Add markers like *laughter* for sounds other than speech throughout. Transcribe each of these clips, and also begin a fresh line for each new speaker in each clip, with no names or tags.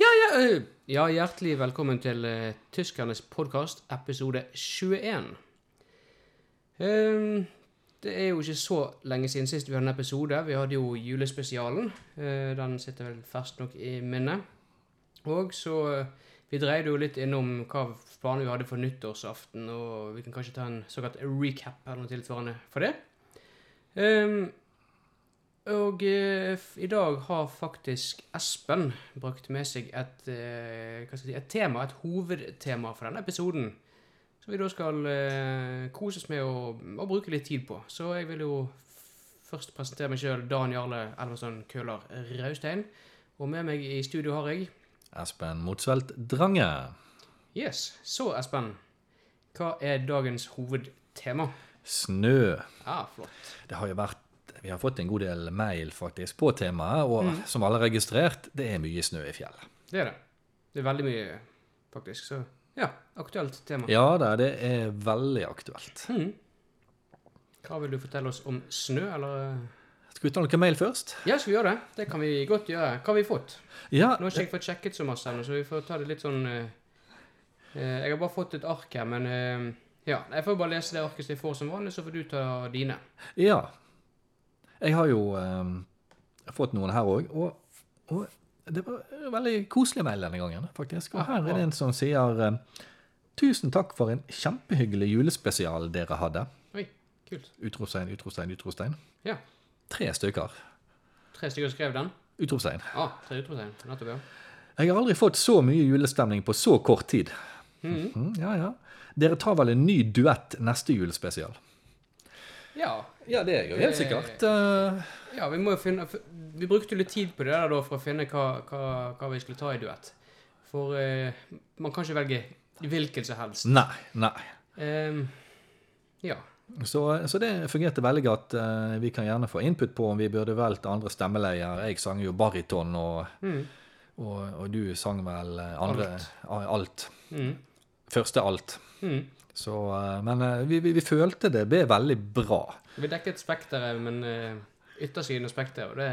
Ja, ø, ja, hjertelig velkommen til eh, Tyskernes podkast, episode 21. Ehm, det er jo ikke så lenge siden sist vi hadde en episode. Vi hadde jo julespesialen. Eh, den sitter vel ferskt nok i minnet. Og så eh, Vi dreide jo litt innom hva planer vi hadde for nyttårsaften, og vi kan kanskje ta en såkalt recap eller noe tilsvarende for det. Ehm, og eh, f- i dag har faktisk Espen brakt med seg et, eh, hva skal jeg si, et tema, et hovedtema for denne episoden. Som vi da skal eh, koses med og, og bruke litt tid på. Så jeg vil jo f- først presentere meg sjøl, Dan Jarle Elvestad Køhler Raustein. Og med meg i studio har jeg
Espen Motsvelt Drange.
Yes. Så, Espen, hva er dagens hovedtema?
Snø.
Ah, flott.
Det har jo vært Vi har fått en god del mail faktisk på temaet, og som alle har registrert, det er mye snø i fjell.
Det er det. Det er veldig mye, faktisk. Så ja, aktuelt tema.
Ja da, det er veldig aktuelt.
Mm. Hva vil du fortelle oss om snø, eller?
Skal vi ta noen mail først?
Ja, skal vi gjøre det? Det kan vi godt gjøre. Hva har vi fått?
Ja,
Nå har ikke jeg fått sjekket så masse ennå, så vi får ta det litt sånn eh, eh, Jeg har bare fått et ark her, men eh, ja. Jeg får bare lese det arket som jeg får som vanlig, så får du ta dine.
ja. Jeg har jo eh, fått noen her òg, og, og det var en veldig koselig mail denne gangen, faktisk. Og her er det en som sier eh, Tusen takk for en kjempehyggelig julespesial dere hadde.
Oi, kult.
Utropstegn, utropstegn, utropstegn.
Ja.
Tre stykker.
Tre stykker skrev den.
Utropstegn.
Ah, tre utropstegn. Nettopp, ja.
Jeg har aldri fått så mye julestemning på så kort tid. Mhm, ja, ja. Dere tar vel en ny duett neste julespesial?
Ja.
Ja, det er jo helt sikkert. eh,
ja vi, må jo finne, f- vi brukte jo litt tid på det der da, for å finne hva, hva, hva vi skulle ta i duett. For eh, man kan ikke velge hvilken som helst.
nei, nei.
Ehm, ja.
Så, så det fungerte veldig godt. eh, vi kan gjerne få input på om vi burde valgt andre stemmeleier. Jeg sang jo bariton, og, og, og du sang vel eh, andre Mm. Alt. alt.
Mm.
Første alt.
Mm.
Så, eh, men eh, vi, vi, vi følte det ble veldig bra.
Vi dekket spekteret, men eh, yttersiden av spekteret, og det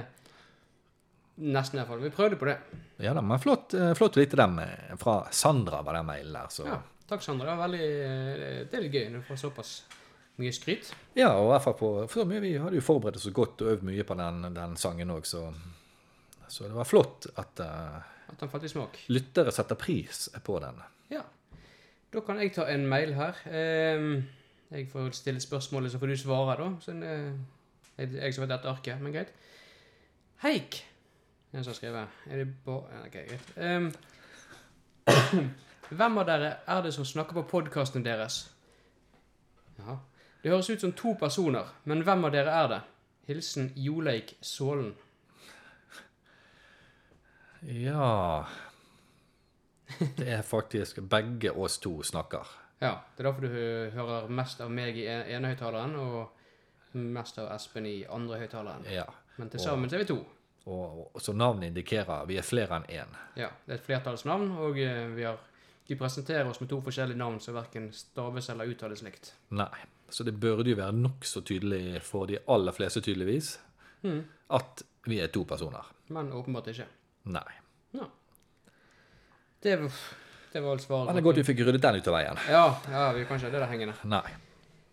Nesten i hvert fall. Vi prøvde på det.
Ja da, men flott, eh, flott å vite dem eh, fra Sandra var den mailen der. Så.
Ja, takk, Sandra. Det var veldig eh, Det er litt gøy når du får såpass mye skryt.
Ja, og i hvert fall på for så mye, Vi hadde jo forberedt oss så godt og øvd mye på den, den sangen òg, så, så det var flott at eh,
At han falt i smak.
lyttere setter pris på den.
Ja. Da kan jeg ta en mail her. Ehm, jeg får stille spørsmålet, så får du svare, da. Sånn, eh, jeg, jeg som har dette arket, men greit. Heik! En som har skrevet. Er det bare ja, Ok, greit. Ehm, *coughs* hvem av dere er det som snakker på podkasten deres? Jaha. Det høres ut som to personer, men hvem av dere er det? Hilsen Joleik Sålen.
Ja Det er faktisk begge oss to snakker.
Ja, det er derfor du hø- hører mest av meg i en- ene høyttaleren, og mest av Espen i andre høyttaleren.
Ja.
Men til sammen så er vi to.
Og, og som navnet indikerer, vi er flere enn én.
Ja, det er et flertallsnavn, og eh, vi, har, vi presenterer oss med to forskjellige navn som verken staves eller uttales likt.
Nei. Så det burde jo være nokså tydelig for de aller fleste, tydeligvis, at vi er to personer.
Men åpenbart ikke.
Nei.
Ja. Det, var- det var alt
Men det
svaret.
er godt vi fikk ryddet den ut av veien.
Ja, ja, vi kan ikke ha det der hengende.
Nei.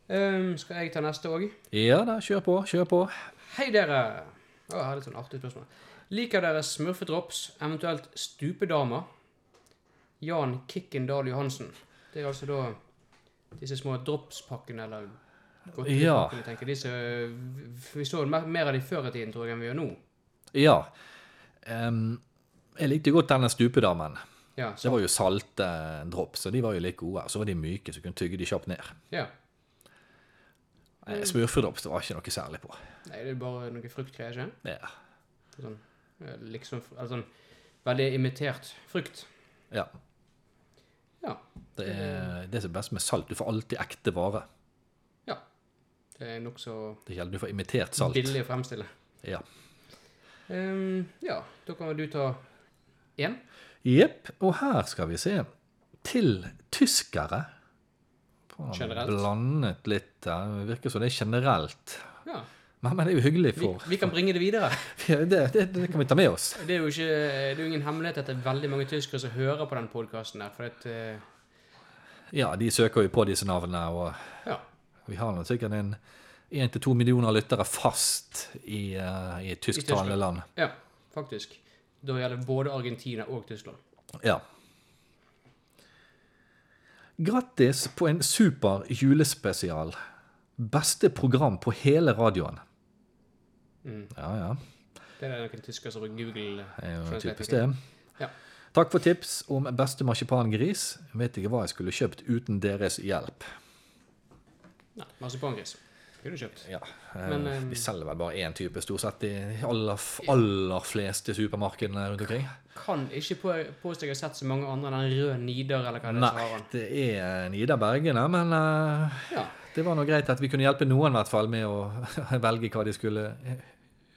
Ehm, skal jeg ta neste òg?
Ja da, kjør på, kjør på.
Hei, dere! Å, jeg hadde et sånn artig spørsmål. Liker dere smurfedrops, eventuelt stupedamer? Jan Kikken Dahl Johansen. Det er altså da disse små dropspakkene, eller
Ja.
godteripakkene, tenker jeg. Disse, øh, vi så mer, mer av de før i tiden, tror jeg, enn vi gjør nå.
Ja. Em, jeg likte godt denne stupedamen.
Ja,
Det
så,
var jo salte eh, drops, og de var jo like gode. Så var de myke, så du kunne tygge de kjapt ned.
ja. Mm.
Eh, Smurfedrops det var ikke noe særlig på.
Nei, det er bare noe fruktgreier, ikke?
Ja.
Sånn, øh, liksom, eller sånn veldig imitert frukt.
ja.
Ja,
Det er
Mm.
det som er best med salt. Du får alltid ekte vare.
det er nok så
Det gjelder du får imitert salt.
billig å fremstille.
Ja.
Ehm, ja, da kan vel du ta én.
Jepp. Og her skal vi se. Til tyskere. Faen,
Generelt.
Blandet litt der. Det virker som det er generelt.
Ja.
Men, men det er jo hyggelig
Vi,
for *laughs*
vi kan bringe det videre.
det, det, det kan vi ta med oss.
Det er jo ikke, det er jo ingen hemmelighet at det er veldig mange tyskere som hører på den podkasten der. For at, eh,
Ja, de søker jo på disse navnene, og
ja,
vi har nå sikkert en én til to millioner lyttere fast i, eh, i tysktalende
Tyskland.
land.
ja, faktisk. Da gjelder både Argentina og Tyskland.
Ja. Grattis på en super julespesial. Beste program på hele radioen.
Mm.
Ja, ja.
Det er noen tyskere som bruker Google. eh,
Det er jo
Translate,
typisk
ok.
det.
Ja.
Takk for tips om beste marsipangris. Vet ikke hva jeg skulle kjøpt uten deres hjelp.
Nei, marsipangris. Kunne du kjøpt.
Ja,
Men,
eh,
ehm,
Vi selger vel bare én type stort sett i de aller, f- aller fleste supermarkedene rundt omkring.
Kan ikke på, påstå jeg har sett så mange andre enn den røde Nidar, eller hva det er som har
Nei,
den.
det er Nida Bergene, men eh,
Ja.
det var nå greit at vi kunne hjelpe noen i hvert fall med å *laughs* velge hva de skulle eh,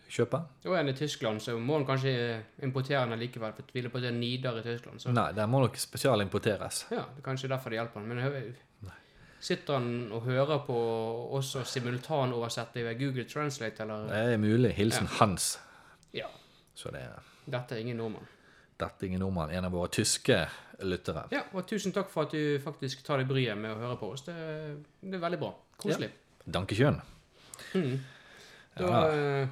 kjøpe.
Og en i Tyskland, så må han kanskje eh, importere den likevel, for jeg tviler på at det er Nidar i Tyskland. Så.
Nei, den må nok spesialimporteres.
Ja, det er kanskje derfor det hjelper han. Men hø- sitter han og hører på også simultanoversette ved Google Translate, eller?
Det er mulig. Hilsen Hans.
Ja,
Så det er
dette er ingen nordmann.
dette er ingen nordmann, en av våre tyske lyttere.
Ja, og tusen takk for at du faktisk tar deg bryet med å høre på oss. Det, det er veldig bra. Koselig.
Dankekjønn.
Mm. Da,
Ja.
eh,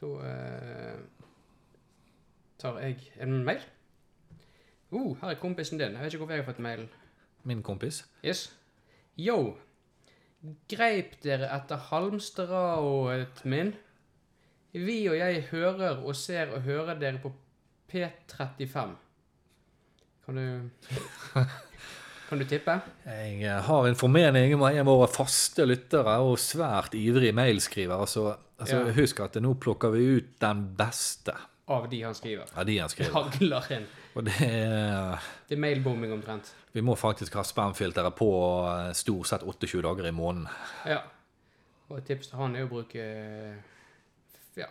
da eh, tar jeg en mail. Oh, her er kompisen din. Jeg vet ikke hvorfor jeg har fått mail.
Min kompis.
Yes. Yo. Greip dere etter halmstrået min? Vi og jeg hører og ser og hører dere på P35. Kan du *laughs* Kan du tippe?
Jeg eh, har en formening om en av våre faste lyttere og svært ivrig mailskriver. Altså, altså,
Ja.
Husk at nå plukker vi ut den beste
Av de han skriver.
av de han skriver.
Hagler inn.
Og det er
Det er mailbombing omtrent.
Vi må faktisk ha spamfilteret på eh, stort sett 28 dager i måneden.
Ja. Og et tips til han er å bruke ja,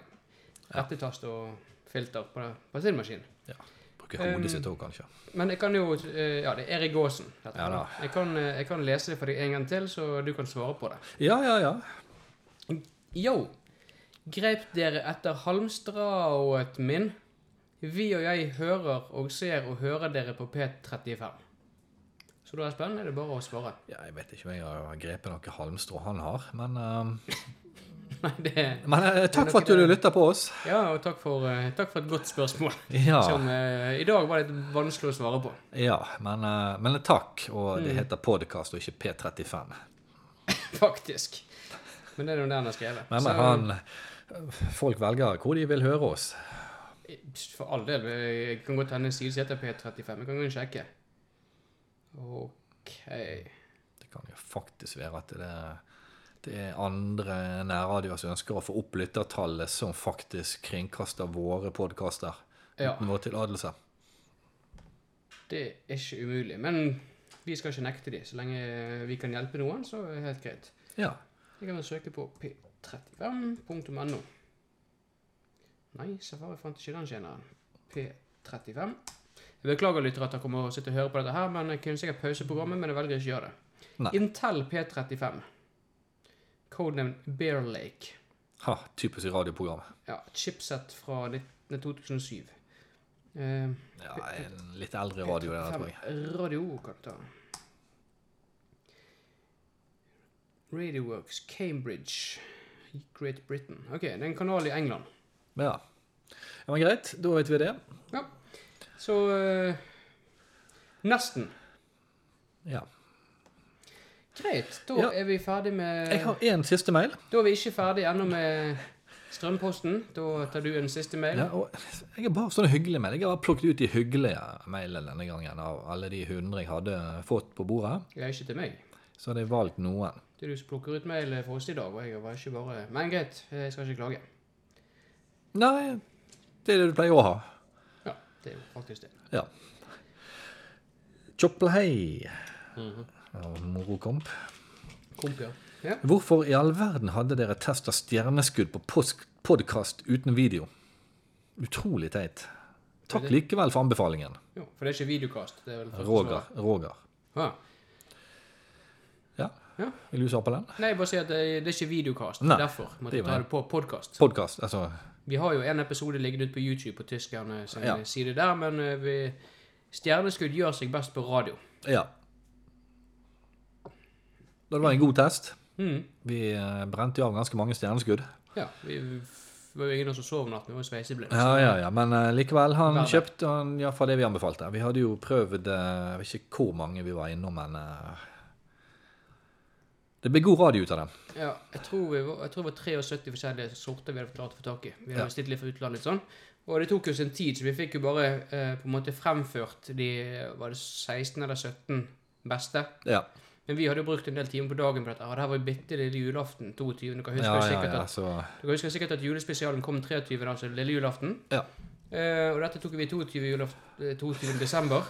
rettetast og filter på, på sin maskin.
Ja. Bruke hodet
Um,
sitt òg, kanskje.
Men jeg kan jo eh, Ja, det er Erik Aasen. dette
Ja
her.
da.
Jeg, kan, eh, jeg kan lese det for deg en gang til, så du kan svare på det.
Ja, ja, ja.
Yo! Greip dere etter halmstrået min? Vi og jeg hører og ser og hører dere på P35. Så da, Espen, er det bare å svare. *laughs*
ja jeg vet ikke om jeg har grepet noe halmstrå han har, men eh,
Nei, det
Men eh, takk for at
Det
du
er
lytter på oss.
Ja, og takk for, eh, takk for et godt spørsmål.
Ja.
Som eh, i dag var litt vanskelig å svare på. *laughs*
ja men, eh, men takk. Og
Mm.
det heter podcast og ikke P35.
Faktisk. Men det er jo det han har skrevet.
Men,
Så-
men han eh, Folk velger hvor de vil høre oss.
For all del. Jeg kan godt hende en side som heter P35. Jeg kan gå inn og sjekke. OK
Det kan jo faktisk være at det, det er andre nærradioer som ønsker å få opp lyttertallet, som faktisk kringkaster våre podkaster
Ja.
uten vår tillatelse.
Det er ikke umulig. Men vi skal ikke nekte de. Så lenge vi kan hjelpe noen, så er det helt greit.
Ja.
Jeg kan vel søke på p35.no. Nei, Safari fant ikke den tjeneren. P35. Jeg beklager lyttere at dere kommer og sitter og hører på dette her, men jeg kunne sikkert pause programmet, men jeg velger ikke å gjøre det.
Nei.
Intel P35. Codename Bear Lake.
Ha, typisk radioprogram.
ja, chipset fra nitt- 2007. Eh,
Ja, en litt eldre radio, det der, tror jeg.
Radio kan ta. Radioworks, Cambridge, Great Britain. Ok, det er en kanal i England.
Ja. ja, men greit. Da vet vi det.
Ja, så eh, nesten.
Ja.
Greit, da
Ja.
er vi ferdig med...
Jeg har én siste mail.
Da er vi ikke ferdig enda med strømposten. Da tar du en siste mail.
Ja, og jeg har bare sånne hyggelige mail. Jeg har bare plukket ut de hyggelige mailene denne gangen av alle de hundre jeg hadde fått på bordet.
Det er ikke til meg.
Så hadde jeg valgt noen.
Det er du som plukker ut mail for oss i dag, og jeg var ikke bare Men greit, jeg skal ikke klage.
Nei, det er det du pleier å ha.
Ja, det er jo faktisk det.
Ja. Tjopplehei. Mhm. Og Morokomp.
Kompier. Ja.
Hvorfor i all verden hadde dere testa stjerneskudd på podkast uten video? Utrolig teit. Takk likevel for anbefalingen.
Jo, for det er ikke videokast. Det er vel
Roger. Roger.
Ja.
Ja.
Ja.
Vil du svare på den?
Nei, bare si at det, det er ikke videokast.
Nei,
derfor måtte
det
vi
var
ta
det.
det på podkast.
Podkast, altså.
Vi har jo en episode liggende ute på YouTube på tyskerne sin
Ja.
side der, men eh, vi, Stjerneskudd gjør seg best på radio.
Ja. Det var en god test.
Mm.
Vi eh, brente jo av ganske mange stjerneskudd.
Ja, vi f- var jo ingen av oss som sov natt, vi var jo sveiseblinde.
Ja, ja, ja, men eh, likevel, han
Hver dag.
kjøpte han, ja, fra det vi anbefalte. Vi hadde jo prøvd, eh, jeg vet ikke hvor mange vi var innom, men eh, det ble god radio ut av det.
Ja, jeg tror, vi var, jeg tror det var 73 forskjellige sorter vi hadde klart å få tak i. Vi hadde
Ja.
bestilt litt fra utlandet sånn. Og det tok jo sin tid, så vi fikk jo bare eh, på en måte fremført de var det 16 eller 17 beste.
Ja,
Men vi hadde jo brukt en del timer på dagen på dette. Og det her var jo bitte lille julaften 22. Dere husker,
ja,
jo
ja,
sikkert,
ja
At,
så
dere husker sikkert at julespesialen kom 23. altså lille julaften.
Ja.
Eh, og dette tok vi 22. Julaft, eh, 22. desember.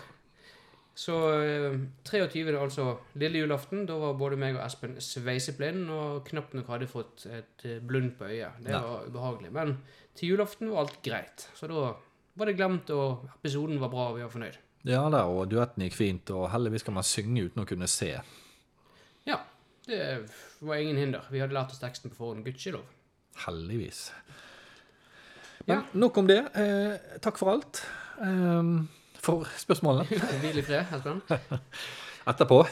Så eh, 23. altså lille julaften, da var både meg og Espen sveiseblind og knapt nok hadde fått et eh, blund på øyet. Det
Nei.
var ubehagelig. Men til julaften var alt greit. Så da var det glemt, og episoden var bra, og vi var fornøyd.
ja da, og duetten gikk fint, og heldigvis kan man synge uten å kunne se.
Ja, det var ingen hinder. Vi hadde lært oss teksten på forhånd, gudskjelov.
Heldigvis. Men
Ja.
nok om det. Eh, takk for alt. Eh, for spørsmålene.
*laughs* Hvil i fred, Espen. *laughs*
etterpå.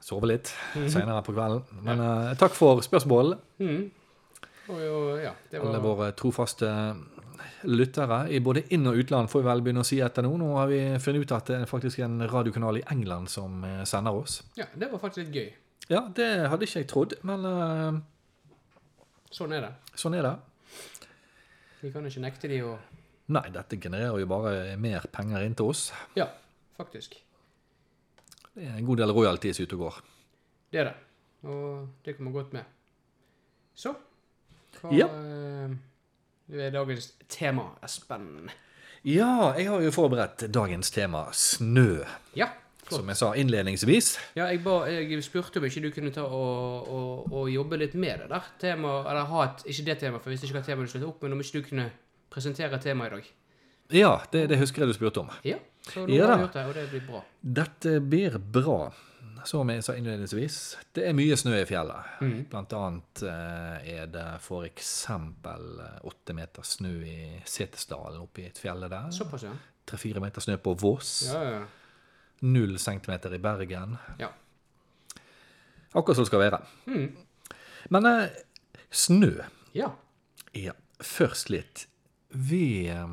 Sove litt
Mhm.
senere på kvelden. Men eh, takk for spørsmål,
Mm. Og jo, ja, det
alle
var
våre trofaste lyttere i både inn- og utland, får vi vel begynne å si etter nå. Nå har vi funnet ut at det er faktisk en radiokanal i England som eh, sender oss.
Ja, det var faktisk litt gøy.
Ja, det hadde ikke jeg trodd, men eh,
Sånn er det.
sånn er det.
Vi kan ikke nekte de å
Nei, dette genererer jo bare mer penger inn til oss.
Ja, faktisk.
Det er en god del royalties ute og går.
Det er det. Og det kommer godt med. Så hva
Ja.
eh, er dagens tema, Espen?
Ja, jeg har jo forberedt dagens tema snø,
Ja. Flott.
som jeg sa innledningsvis.
Ja, jeg, ba, jeg spurte om ikke du kunne ta og, og, og jobbe litt med det der. Tema, eller ha et Ikke det temaet, for jeg visste ikke hva tema du skulle ta opp, men om ikke du kunne presentere temaet i dag.
Ja, det, det husker jeg du spurte om.
Ja. Så nå
Ja
har
da.
vi gjort det, og det blir bra.
Dette blir bra. Som jeg sa innledningsvis, det er mye snø i fjellet. Blant annet eh, er det for eksempel eh, åtte meter snø i Setesdalen oppe i et fjell der.
Såpass, ja.
Tre-fire meter snø på Voss.
Ja, ja,
Null centimeter i Bergen.
ja. ja.
Akkurat som det skal være.
Mm.
Men eh, snø
Ja.
Ja, først litt. Vi, eh,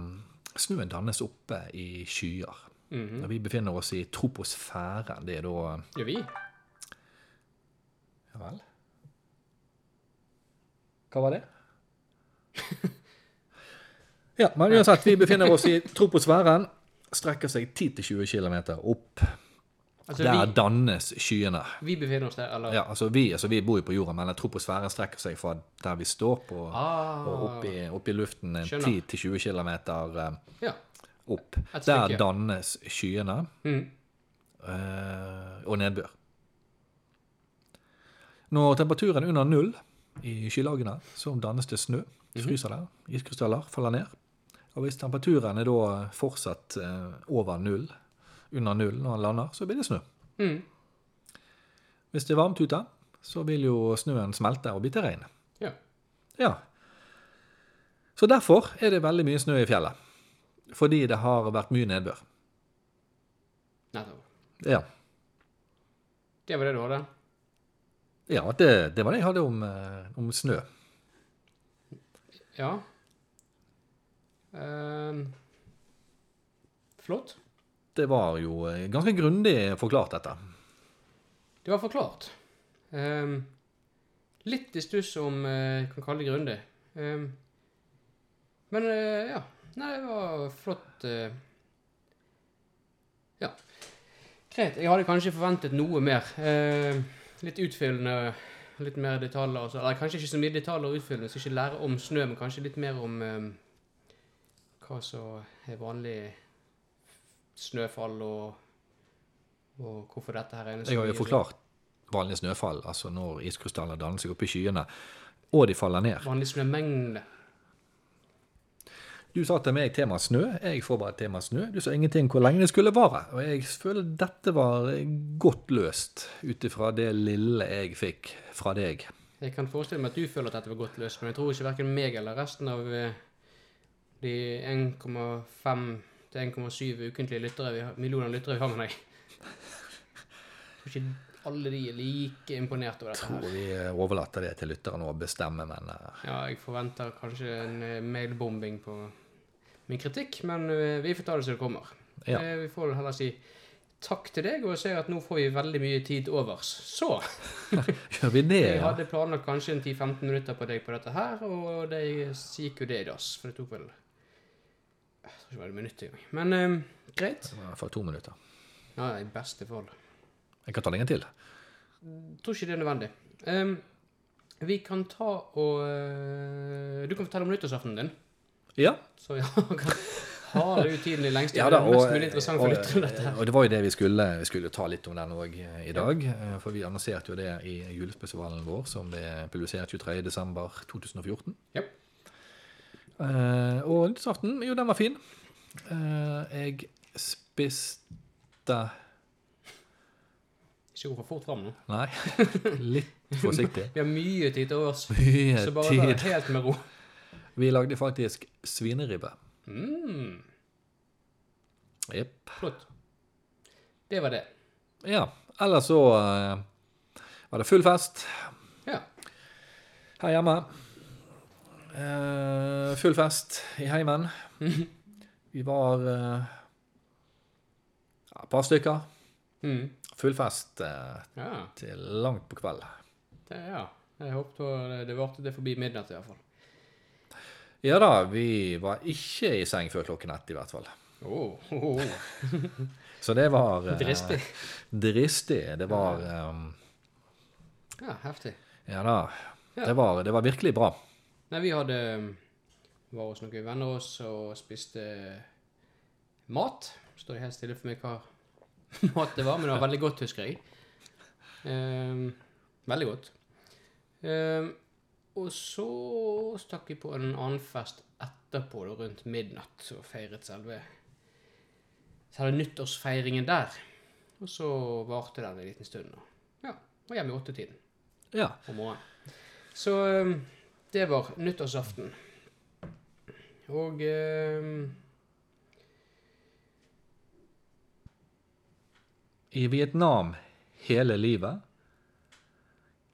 snøen dannes oppe i skyer.
Mhm.
Når vi befinner oss i troposfæren, det er da
Gjør vi?
Ja vel. Hva var det?
*laughs*
ja, men uansett, vi befinner oss i troposfæren. Strekker seg 10-20 km opp.
Altså,
Der
vi,
dannes skyene.
vi befinner oss der, eller?
Ja, altså vi, altså vi bor jo på jorda, men troposfæren strekker seg fra der vi står på,
Ah,
og opp i, opp i luften en
Skjønner.
10-20 km
ja.
eh, opp.
Et stykke.
Der dannes skyene
Mm.
eh, og nedbør. Når temperaturen er under null i skylagene, så dannes det snø.
Mhm.
Fryser der. Iskrystaller faller ned. Og hvis temperaturen er da fortsatt eh, over null, under null når den lander, så blir det snø.
Mm.
Hvis det er varmt ute, så vil jo snøen smelte og bli til regn.
Ja.
Ja. Så derfor er det veldig mye snø i fjellet. Fordi det har vært mye nedbør.
Nettopp.
Ja.
Det var det du hadde?
Ja, det, det var det jeg hadde om, eh, om snø.
Ja. Ehm, flott.
Det var jo eh, ganske grundig forklart, dette.
Det var forklart. Ehm, litt i stuss om eh, kan kalle det grundig. Ehm, men eh, ja. Nei, det var flott. eh. ja. Greit. Jeg hadde kanskje forventet noe mer. Ehm, litt utfyllende, litt mer detaljer. og så- Eller kanskje ikke så mye detaljer og utfyllende, så ikke lære om snø, men kanskje litt mer om ehm, hva som er vanlig snøfall og, og hvorfor dette her regnes
Jeg har jo
mye.
forklart vanlig snøfall, altså når iskrystaller danner
liksom
seg opp i skyene, og de faller ned.
vanlig snømengde.
Du sa til meg tema snø, jeg får bare tema snø. Du sa ingenting hvor lenge det skulle vare. Og jeg føler dette var eh, godt løst, ut ifra det lille jeg fikk fra deg.
Jeg kan forestille meg at du føler at dette var godt løst, men jeg tror ikke hverken meg eller resten av eh, de 1,5 til 1,7 ukentlige lyttere vi har, millioner lyttere vi har med deg. Jeg tror ikke alle de er like imponert over
Jeg
dette. her.
tror vi eh, overlater det til lytterne å bestemme, men eh,
Ja, jeg forventer kanskje en eh, mailbombing på min kritikk, men eh, vi får ta det som det kommer.
Ja.
Eh, Vi får heller si takk til deg, og se at nå får vi veldig mye tid overs. Så,
gjør vi det?
vi
Ja?
hadde planlagt kanskje en 10-15 minutter på deg på dette her, og det gikk jo det i dass, for det tok vel... Jeg tror ikke det var et minutt engang. Men eh, greit.
I hvert fall to minutter.
Ja, i beste fall.
Jeg kan ta lenge til.
Jeg tror ikke det er nødvendig. Em, vi kan ta og... eh, du kan fortelle om nyttårsaften din.
Ja,
Så ja, *laughs* han kan ha det ut tiden i lengste.
Ja
det
da,
er mest mulig interessant for
og-
lytterne, dette.
Og det var jo det vi skulle, vi skulle ta litt om den òg i dag. eh, For vi annonserte jo det i julespesialen vår, som ble publisert 23.12.2014.
Ja.
Eh, og nyttårsaften, jo, den var fin. Eh, jeg spiste
Ikke gå for fort fram nå.
Nei, *laughs* litt forsiktig.
Vi har mye tid til overs, så
Mye
bare vær
tid.
helt med ro.
Vi lagde faktisk svineribbe.
Mm,
Jepp.
flott. Det var det.
Ja. Eller så eh, var det full fest.
Ja.
her hjemme. Eh, full fest i
*laughs*
heimen. Vi var eh, ja, et par stykker.
Mm.
Full fest eh,
Ja,
til langt på kveld.
det, ja. Jeg håpet det, det varte det forbi midnatt i hvert fall.
Ja da, vi var ikke i seng før klokken ett, i hvert fall.
Åh, oh, oh,
Så det var eh,
dristig.
Dristig. Det var eh,
Ja, heftig.
Ja da.
Ja.
Det var, det var virkelig bra.
Nei, vi hadde um, var hos noen venner av oss og spiste uh, mat. Står det helt stille for meg hva *laughs* mat det var, men det var veldig godt, husker jeg. Ehm, veldig godt. Ehm, og så stakk vi på en annen fest etterpå, da, rundt midnatt, og feiret selve, selve nyttårsfeiringen der. Og så varte den en liten stund. Og, ja, og hjemme i åttetiden
Ja.
om morgenen. Så eh, det var nyttårsaften. Og eh,
I Vietnam hele livet.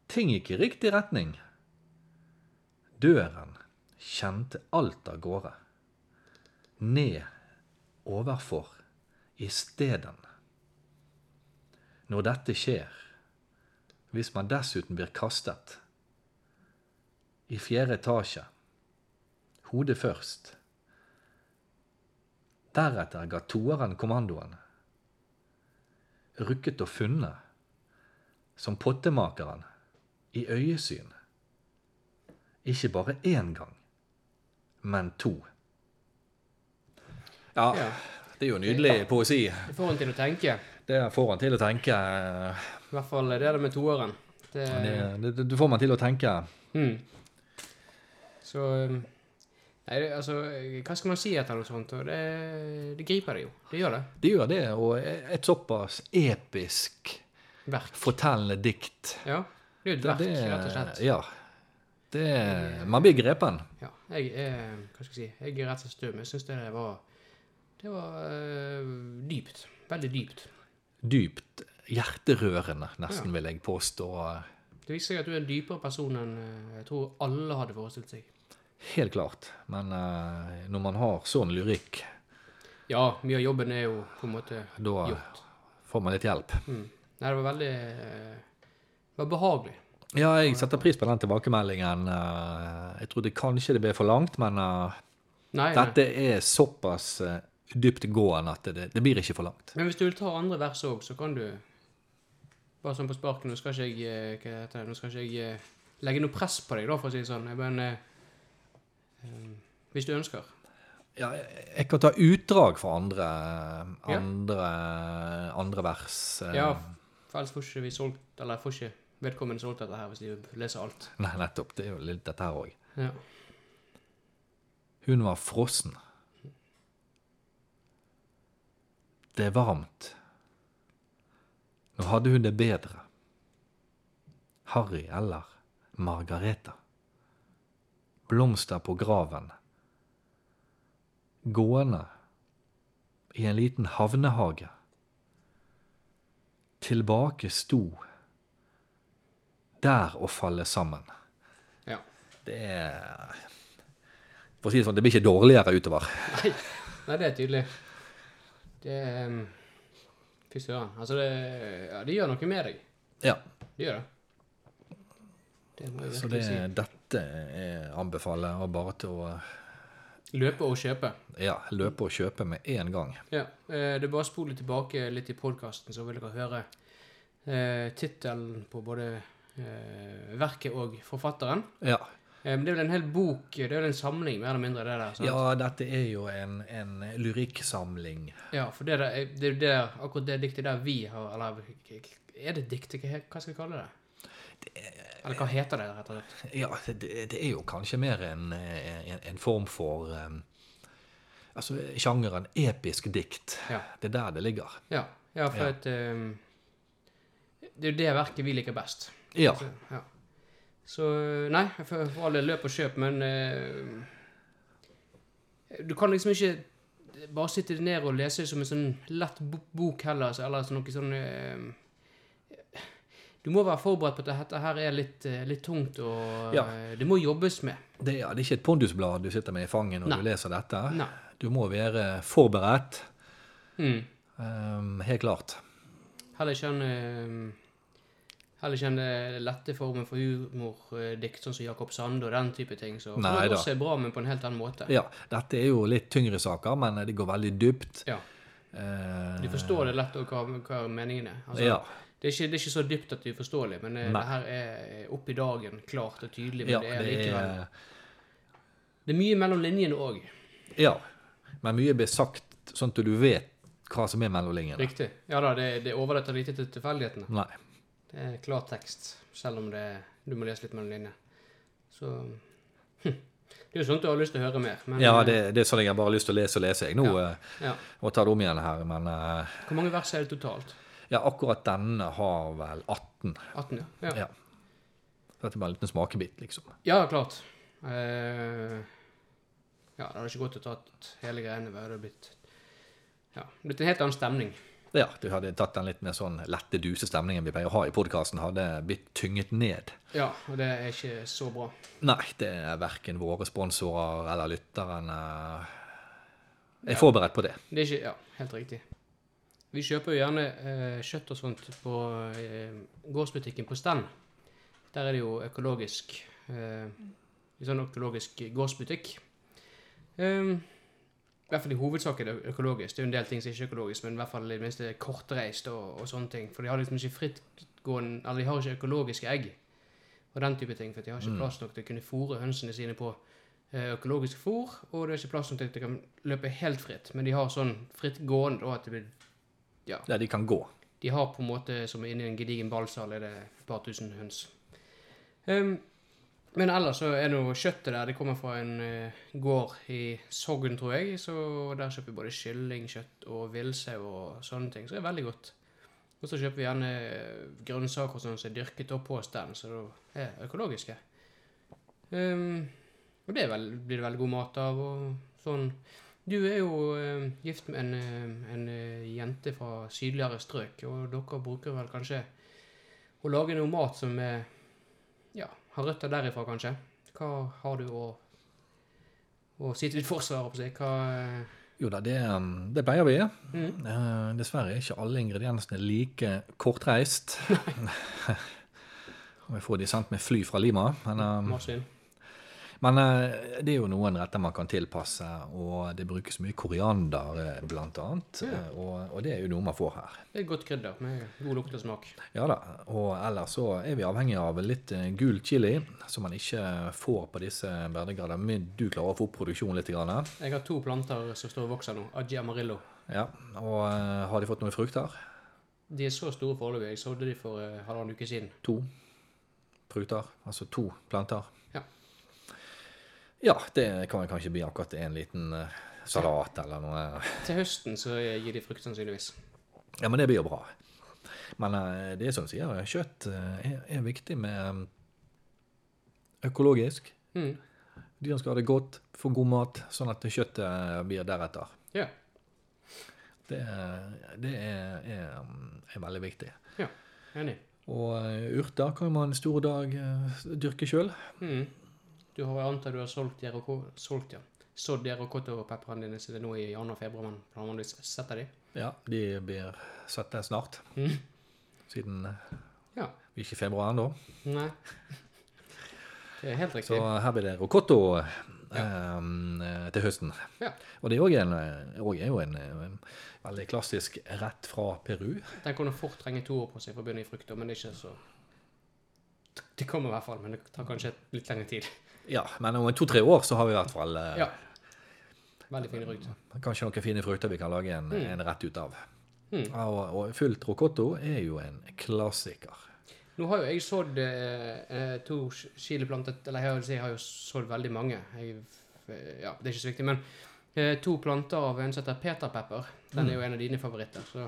Ting gikk i riktig retning. Døren kjente alt av gårde. Ned, overfor, isteden. Når dette skjer, hvis man dessuten blir kastet I fjerde etasje, hodet først. Deretter ga toeren kommandoen rukket og funnet, som pottemakeren, i øyesyn. Ikke bare én gang, men to. Ja,
Ja.
det er jo nydelig poesi.
det får en til å tenke.
Det får han til å tenke Eh,
I hvert fall det er det med toeren. Det,
det, det, det får man til å tenke
Mm. Så eh, Nei, det- altså, eh, hva skal man si etter noe sånt? Og det, det griper det jo. Det gjør det.
Det gjør det, og et såpass episk
Verk.
fortellende dikt
Ja. Det er jo et
det-
verk, rett og slett.
det- Ja. Det, man blir grepen.
Ja, jeg er Hva skal jeg si? Jeg er rett og slett støm. Jeg syns det var Det var eh, dypt. Veldig dypt.
Dypt hjerterørende, nesten, vil jeg påstå.
Det viser seg at du er en dypere person enn eh, jeg tror alle hadde forestilt seg.
Helt klart. Men eh, når man har sånn lyrikk,
Ja, mye av jobben er jo på en måte
da
gjort.
får man litt hjelp.
Mm. Nei, det var veldig eh, Det var behagelig.
Ja, jeg setter pris på den tilbakemeldingen. eh, jeg trodde kanskje det ble for langt, men eh,
Nei, nei.
dette er såpass uh, dyptgående at det, det blir ikke for langt.
Men hvis du vil ta andre vers òg, så kan du Bare sånn på sparket, nå skal ikke jeg eh, Hva heter det? Nå skal ikke jeg eh, legge noe press på deg, da, for å si det sånn. Jeg bare eh, eh, Hvis du ønsker.
Ja, jeg, jeg kan ta utdrag fra andre,
Ja.
andre, andre vers. eh.
Ja,
*laughs*
for ellers får ikke vi solgt Eller får ikke vedkommende solgt dette her hvis de leser alt.
Nei, nettopp. Det er jo litt dette her òg.
Ja.
Hun var frossen. Det er varmt. Nå hadde hun det bedre. Harry eller Margareta. Blomster på graven. Gående i en liten havnehage. Tilbake sto. Der å falle sammen.
Ja.
Det er For å si det sånn, det blir ikke dårligere utover.
Nei, nei det er tydelig. Det um, Fy søren. Altså, det, ja, det gjør noe med deg.
Ja,
Det gjør det. Det må jeg
Så
virkelig
det, dette er anbefaler jeg bare til å
si. Løpe og kjøpe.
ja, løpe og kjøpe med en gang.
Ja. eh, Det er bare å spole tilbake litt i podkasten, så vil dere høre eh, tittelen på både eh, verket og forfatteren.
Ja,
Eh, men det er vel en hel bok, det er vel en samling, mer eller mindre, det der. altså. sant?
ja dette er jo en, en lyrikksamling.
Ja, for det, der, er- det er jo det, akkurat det diktet der vi har Eller er det dikt? Hva he- hva skal vi kalle det? Eller hva heter det, rett og slett?
Ja, det, det er jo kanskje mer en, en, en form for um, Altså sjangeren episk dikt.
Ja.
Det er der det ligger.
Ja, ja for
Ja.
at ehm, Det er jo det verket vi liker best.
Ja.
Så, ja. så eh, Nei, for, for alle løp og kjøp, men eh, Du kan liksom ikke bare sitte ned og lese som en sånn lett bo- bok heller, så- eller så noe sånn eh, Du må være forberedt på at dette her er litt, eh, litt tungt, og
Ja.
eh, det må jobbes med.
Det, er- det er ikke et pondusblad du sitter med i fanget når
Nei.
du leser dette.
Nei.
Du må være forberedt.
Mm.
Um, helt klart.
Heller ikke en eh, Heller ikke en eh, lette formen for humordikt, sånn som Jakob Sande og den type ting. Så
Nei
det
da.
også er bra, men på en helt annen måte.
Ja, dette er jo litt tyngre saker, men det går veldig dypt.
Ja.
Eh,
Du forstår det lett og hva, hva meningen er. Altså,
ja.
det, er ikke, det er ikke så dypt at du forstår det, men eh,
Nei.
det her er oppe i dagen, klart og tydelig. Men
Ja,
det er
det
likevel
er,
Det er mye mellom linjene òg.
ja. Men mye blir sagt sånn at du vet hva som er mellom linjene.
Riktig. Ja da, det, det overlater lite til tilfeldighetene.
Nei.
Det er klar tekst, selv om det, du må lese litt mellom linjene. Så hm. Det er jo sånt du har lyst til å høre mer. Men,
Ja,
eh,
det, det er sånn jeg har bare lyst til å lese og lese, jeg nå. eh,
ja.
Og ta det om igjen her. Men eh,
Hvor mange vers er det totalt?
ja, akkurat denne har vel 18.
18, ja. Ja, ja.
Ja. Så Dette er bare en liten smakebit, liksom.
klart. Eh, ja, det hadde ikke gått å tatt hele greiene. Det hadde blitt, ja, blitt en helt annen stemning.
Ja, du hadde tatt den litt mer sånn lette duse stemningen vi pleier å ha i podkasten, hadde blitt tynget ned.
Ja, og det er ikke så bra.
Nei, det er verken våre sponsorer eller lytteren eh, er forberedt på det.
Det er ikke Ja, helt riktig. Vi kjøper jo gjerne eh, kjøtt og sånt på eh, gårdsbutikken på Stand. Der er det jo økologisk eh, en sånn økologisk gårdsbutikk. Eh, I hvert fall i hovedsak er det økologisk. Det er jo en del ting som ikke er økologisk, men i hvert fall i det minste kortreist og, og sånne ting. For de har liksom ikke frittgående Eller de har ikke økologiske egg og den type ting. For de har ikke plass nok til å kunne fôre hønsene sine på eh, økologisk fôr, og det er ikke plass nok til at de kan løpe helt fritt. Men de har sånn fritt gående, og at det blir
Ja, de kan gå.
de har på en måte, som inni en gedigen ballsal, er det et par tusen høns. Ehm, men ellers så er nå kjøttet der. Det kommer fra en eh, gård i Sogn, tror jeg. Så der kjøper vi både kyllingkjøtt og villsau og sånne ting. Så det er veldig godt. Og så kjøper vi gjerne grønnsaker og sånn som er dyrket opp på stand, så det er økologiske. Ehm, og det er vel, blir det veldig god mat av og sånn. Du er jo eh, gift med en, eh, en eh, jente fra sydligere strøk, og dere bruker vel kanskje å lage noe mat som eh, ja, har røtter derifra, kanskje? Hva har du å, å si til ditt forsvar? holdt jeg på å si?
Jo da, det, eh, det pleier vi.
Hva, eh, mm,
Eh, dessverre er ikke alle ingrediensene like *laughs* kortreist. Og Vi får de sendt med fly fra Lima. Men, eh,
marsvin.
men eh, det er jo noen retter man kan tilpasse, og det brukes mye koriander, eh, blant annet.
Ja.
eh, Og, og det er jo noe man får her.
Det er godt krydder med god lukt og smak.
Ja da, og ellers så er vi avhengig av litt eh, gul chili, som man ikke får på disse breddegrader. Men du klarer å få opp produksjonen litt. Grann. eh.
Jeg har to planter som står og vokser nå. Aji amarillo.
Ja, og eh, har de fått noen frukter?
De er så store foreløpig. Jeg sådde de for eh, halvannen uke siden.
To pruter, altså to planter.
Ja.
Ja, det kan vel kanskje bli akkurat en liten eh, salat eller noe.
Til høsten så gir de frukt, sannsynligvis.
Ja, men det blir jo bra. Men eh, det er som du sier, kjøtt eh, er, er viktig med eh, økologisk.
Mm.
Dyrene skal ha det godt, få god mat, sånn at kjøttet blir deretter.
Ja.
Det, er- det er, er, mm, er veldig viktig.
ja. Enig.
Og eh, urter kan man en stor dag eh, dyrke sjøl.
Mm. Du har, jeg antar du har solgt ROK, solgt, ja. sådd ROK-pepperene dine siden nå i januar og februar, men vanligvis setter de.
Ja, de blir satt der snart.
Mhm.
Siden eh,
Ja.
vi er ikke i februar ennå.
Nei. *laughs* Det er helt riktig.
Så her blir det rocotto eh, til høsten.
Ja.
Og det er òg en, og er jo en, eh, veldig klassisk rett fra Peru.
Den kunne fort trenge to år på seg for å begynne i frukter, men det er ikke så Det kommer i hvert fall, men det tar kanskje litt lengre tid.
Ja, men om to-tre år så har vi i hvert fall eh,
Ja. Veldig fin rygg.
kanskje noen fine frukter vi kan lage en, en rett ut av.
Mm.
Ja, Og, og fullt rocotto er jo en klassiker.
Nå har jo jeg sådd eh, eh, to sk- chiliplanter Eller jeg vil si jeg har jo sådd veldig mange. Jeg, ja, det er ikke så viktig, men eh, to planter av en som heter peterpepper. Den er jo en av dine favoritter, så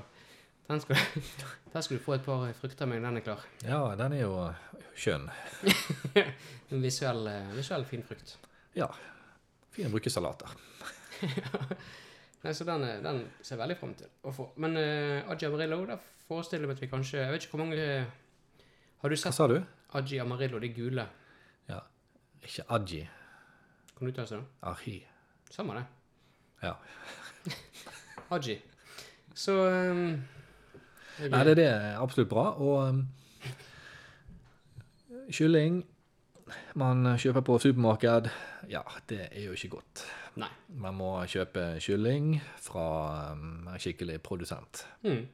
den skal, *laughs* den skal du få et par eh, frukter med når den er klar.
Ja, den er jo skjønn.
En visuell, eh, visuell fin frukt.
Ja. Fin å bruke i salater.
Nei, så den, eh, den ser jeg veldig frem til å få. Men uh, Aji Amarillo, da forestiller jeg meg at vi kanskje Jeg vet ikke hvor mange Har du
Hva
sett
sa du?
Aji Amarillo, de gule?
Ja. Ikke aji.
Kan du uttale seg det?
Ahi.
Samme det.
Ja.
Aji. Så eh, jeg,
Nei, det, det er absolutt bra. Og um, kylling man kjøper på supermarked, ja, det er jo ikke godt.
Nei.
Man må kjøpe kylling fra um, en skikkelig produsent.
Mm.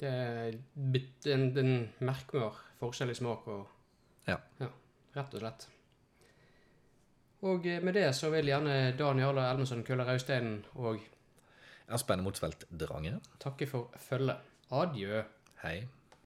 Det er bit- en, en merkbar forskjell i smak og
Ja.
Rett og slett. Og eh, med det så vil gjerne Dan Jarle Elmesson Køller Rausteinen og
Espen Motsvelt Drange,
takke for følget. Adjø.
hei.